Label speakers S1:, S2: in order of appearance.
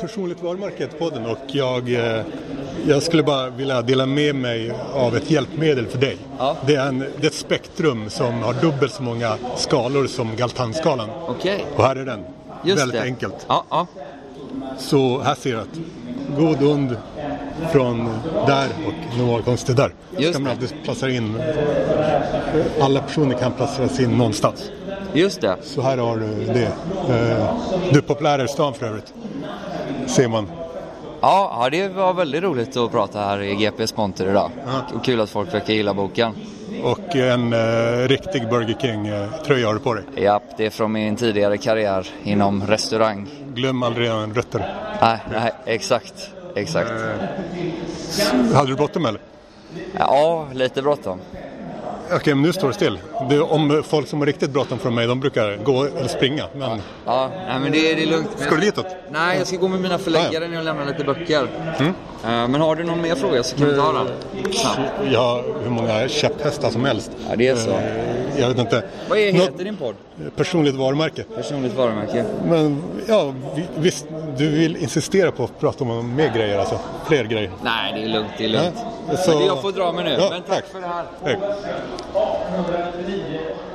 S1: Personligt varumärke-podden och jag, eh, jag skulle bara vilja dela med mig av ett hjälpmedel för dig.
S2: Ja.
S1: Det, är en, det är ett spektrum som har dubbelt så många skalor som Galtanskalan.
S2: Okej,
S1: Och här är den.
S2: just
S1: Väldigt
S2: det.
S1: enkelt.
S2: Ja, ja.
S1: Så här ser jag att god och ond från där och normalkonst till där.
S2: Just
S1: Ska man
S2: det.
S1: alltid placera in. Alla personer kan placeras in någonstans.
S2: Just det.
S1: Så här har du det. Eh, Du är populär i stan för övrigt. Ser man.
S2: Ja, ja, det var väldigt roligt att prata här i GPs monter idag.
S1: Ja.
S2: Och kul att folk verkar gilla boken.
S1: Och en eh, riktig Burger King-tröja har du på dig.
S2: Japp, det är från min tidigare karriär inom restaurang.
S1: Glöm aldrig en rötter.
S2: Nej, nej, exakt. Exakt.
S1: Eh. Hade du bråttom eller?
S2: Ja, lite bråttom.
S1: Okej, men nu står det still. Det är om folk som har riktigt bråttom från mig, de brukar gå eller springa. Men
S2: Ja, nej, men det, det är lugnt.
S1: Ska du ditåt?
S2: Nej, jag ska gå med mina förläggare när jag lämnar lite böcker.
S1: Mm.
S2: Eh, Men har du någon mer fråga så kan vi ta den. Snabbt.
S1: jag har hur många käpphästar som helst.
S2: Ja, det är så.
S1: Eh, Jag vet inte.
S2: Vad är,
S1: Något
S2: heter din podd?
S1: personligt varumärke.
S2: Personligt varumärke.
S1: Men ja, vi- visst, du vill insistera på att prata om mer grejer alltså. Fler grejer.
S2: Nej, det är lugnt. Det är
S1: Eh.
S2: lugnt.
S1: Ja, så-
S2: Men jag får dra mig nu.
S1: Ja,
S2: men tack,
S1: tack.
S2: för det här.
S1: Hej.